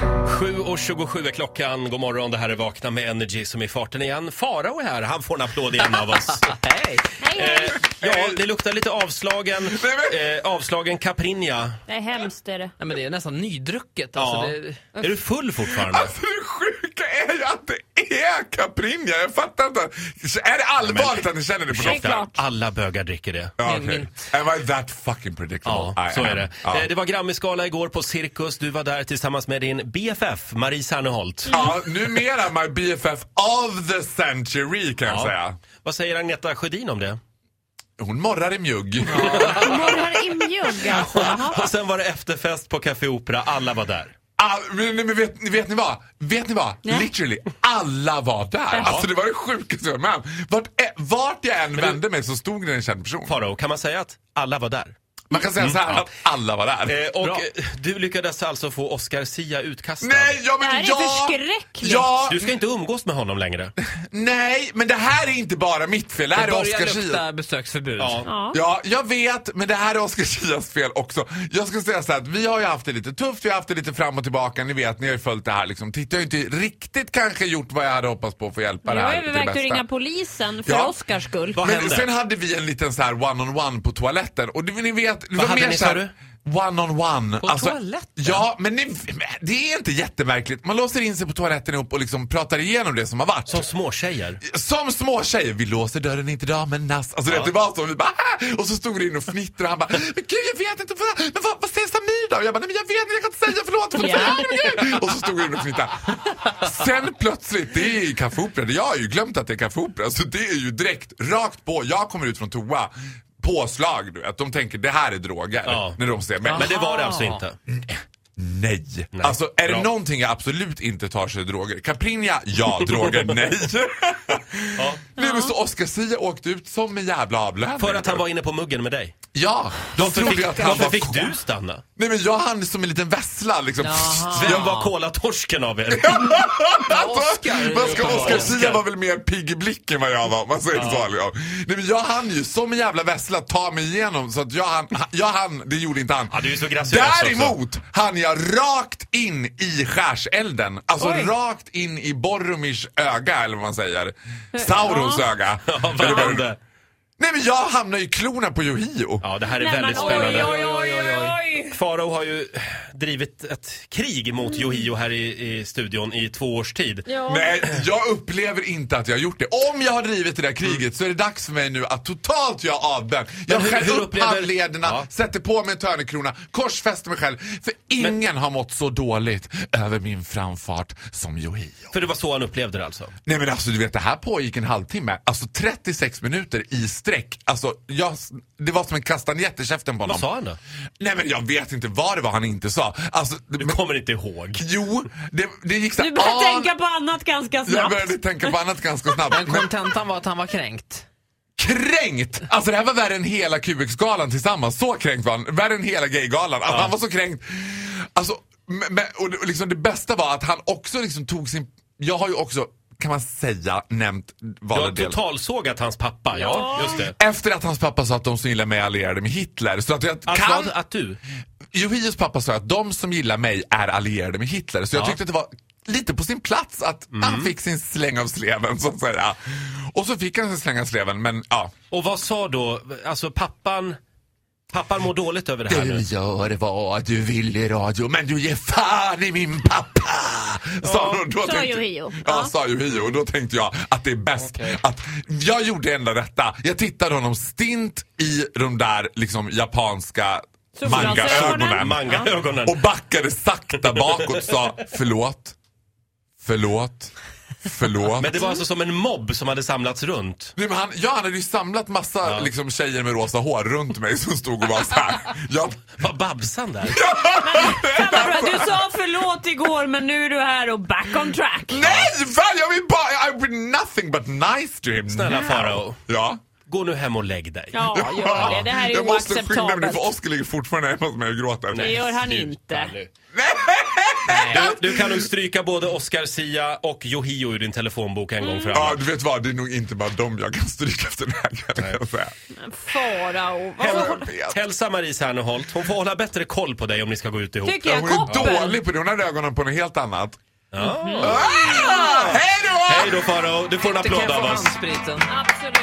7.27 är klockan. God morgon, det här är Vakna med Energy som är i farten igen. Farao är här, han får en applåd igen av oss. Hej! Nej, Eh, ja, det luktar lite avslagen, eh, avslagen caprinja. det är hemskt är det. Nej, men det är nästan nydrucket. Alltså, Ja. det, Är du full fortfarande? Alltså hur sjuka är jag att det är Caprinja? Jag fattar inte. Är det allvarligt att ni känner det på Det är doften? klart. Alla bögar dricker det. Ja, Min- okej. Am I that fucking predictable? Ja, I så am. är det. Ja. Eh, Det var Grammisgala igår på Cirkus. Du var där tillsammans med din BFF, Marie Serneholt. Ja, numera my BFF of the century kan jag Ja. säga. Vad säger Agneta Sjödin om det? Hon morrar i mjugg. Morrar i mjugg alltså. Jaha. Och sen var det efterfest på Café Opera. Alla var där. All, men, men vet, vet ni vad? Vet ni vad? Nej. Literally, alla var där. Alltså det var det sjukaste jag var med om. vart, ä- vart jag än vände mig så stod det en känd person. Farao, kan man säga att alla var där? Man kan säga så här ja. att alla var där. Mm. Eh, och Bra. eh, du lyckades alltså få Oscar Sia utkastad. Nej, ja, men Det här är ja, förskräckligt. Ja, Du ska inte umgås med honom längre. nej, men det här är inte bara mitt fel. Det här det är börjar Oscar Schia. lukta besöksförbud. Ja. Ja, jag vet, men det här är Oscar Chias fel också. Jag ska säga så här att vi har ju haft det lite tufft, vi har haft det lite fram och tillbaka. Ni vet, ni har ju följt det här liksom. Titta, jag har ju inte riktigt kanske gjort vad jag hade hoppats på för att hjälpa Nu det här har vi till det verkligen bästa. ringa polisen för Ja. Oscars skull. Vad Men hände? sen hade vi en liten så här one-on-one på toaletten och det, ni vet... det var hade mer ni, så här- sa du? One-on-one. Alltså, På toaletten? Ja, men ni, det är inte jättemärkligt. Man låser in sig på toaletten ihop och liksom pratar igenom det som har varit. Som småtjejer. Som små tjejer, vi låser dörren inte damernas. Alltså det var så, vi bara "Ah!" Och så stod det in och fnittrade och han bara, men gud jag vet inte, vad, men vad, vad säger Samir då? Och jag bara, nej men jag vet inte, jag kan inte säga, förlåt, förlåt, Ja. förlåt, förlåt. Och så stod det in och fnittrade. Sen plötsligt, det är ju Café Opera, jag har ju glömt att det är Café Opera, så det är ju direkt, rakt på, jag kommer ut från toa, påslag du vet, de tänker det här är droger, Ja. när de ser mig. Men det var det alltså inte. Nej. Alltså är Bra. det någonting jag absolut inte tar så är det droger. Caprinja, ja. Droger, nej. Nu men så Oscar Zia åkte ut som en jävla avlöning. För att han var inne på muggen med dig. Ja, de Varför trodde fick, att han varför var... fick du stanna? Nej men jag hann som en liten vessla liksom. Jaha. Vem var kolatorsken av er? Oscar. Alltså, Vad ska Oscar Oscar. Zia var väl mer pigg i blicken än vad jag var. Man säger så liksom. Nej men jag hann ju som en jävla vessla ta mig igenom så att jag hann, jag hann det gjorde inte han. Ja, du är så graciös också. Däremot hann jag rakt in i skärselden. Alltså Oj. rakt in i Borromirs öga eller vad man säger. Saurons öga. Ja, vad hände? Nej men jag hamnade i klorna på Yohio. Ja, det här är Nej, men väldigt spännande. Oj, oj, oj, oj, oj. Farao har ju drivit ett krig mot Yohio här i, i studion i två års tid. Mm. Ja. Nej, jag upplever inte att jag har gjort det. Om jag har drivit det där kriget så är det dags för mig nu att totalt göra avbön. Jag hur- skär hur upp upplever- handlederna, Ja. sätter på mig en törnekrona, korsfäster mig själv. För ingen har mått så dåligt över min framfart som Yohio. För det var så han upplevde det alltså. Nej men alltså du vet det här pågick en halvtimme, alltså 36 minuter i sträck. Alltså jag, det var som en kastanjett i käften på honom. Vad sa han då? Nej men jag vet inte vad det var han inte sa. Alltså, det- Du men, kommer inte ihåg. jo, det, det gick så Du här, börjar "Ah." tänka på annat ganska Jag snabbt. började tänka på annat ganska snabbt. Men kontentan var att han var kränkt. kränkt! Alltså det här var värre än hela QX-galan tillsammans. Så kränkt var han. Värre än hela gaygalan. Alltså, Han var så kränkt. Alltså, men, men- och det- och liksom det bästa var att han också liksom tog sin... Jag har ju också, kan man säga, nämnt Du valda har delar. totalsågat hans pappa, ja. Just det. Efter att hans pappa sa att de som gillar mig är allierade med Hitler. Så att jag Att, kan... vad- att du? Johios pappa sa att de som gillar mig är allierade med Hitler. Så jag Ja. Mm. tyckte att det var lite på sin plats att han fick sin släng av sleven så att säga. Och så fick han sin släng av sleven men ja. Och vad sa då, alltså pappan, pappan mår dåligt över det här nu. gör vad du vill i radio men du ger fan i min pappa! Sa hon och då sa tänkte- Yohio. Ja, Ja. sa Johio och då tänkte jag att det är bäst att jag gjorde det enda rätta. Jag tittade honom stint i de där liksom japanska Solglasögonen. mangaögonen. Mangaögonen. Och backade sakta bakåt och sa förlåt, förlåt, förlåt. Men det var alltså som en mobb som hade samlats runt. Nej, men han, ja, han hade ju samlat massa liksom, tjejer med rosa hår runt mig som stod och var så här. Jag, Var Babsan där? Fan vad bra. Du sa förlåt igår men nu är du här och back on track. Nej! Fan, jag vill bara... I've been nothing but nice to him. Snälla now. Farao, Ja. gå nu hem och lägg dig. Ja, gör det. Det här är jag måste skynda mig nu oacceptabelt. för Oskar ligger fortfarande hemma hos mig och gråter. Det gör han Sluta inte. nu. Du, du kan nog stryka både Oscar Sia och Yohio ur din telefonbok en Mm. gång för alla. Ja, du vet vad, det är nog inte bara dem jag kan stryka efter den här kan jag säga. Farao. Varför Jag håller- vet. Hälsa Marie Serneholt. Hon får hålla bättre koll på dig om ni ska gå ut ihop. Tycker jag Hon är koppen. dålig på det, hon hade ögonen på något helt annat. Ja. Ah, hej då! Hej då Farao, du får en Du kan applåd få av oss. handspriten. Absolut.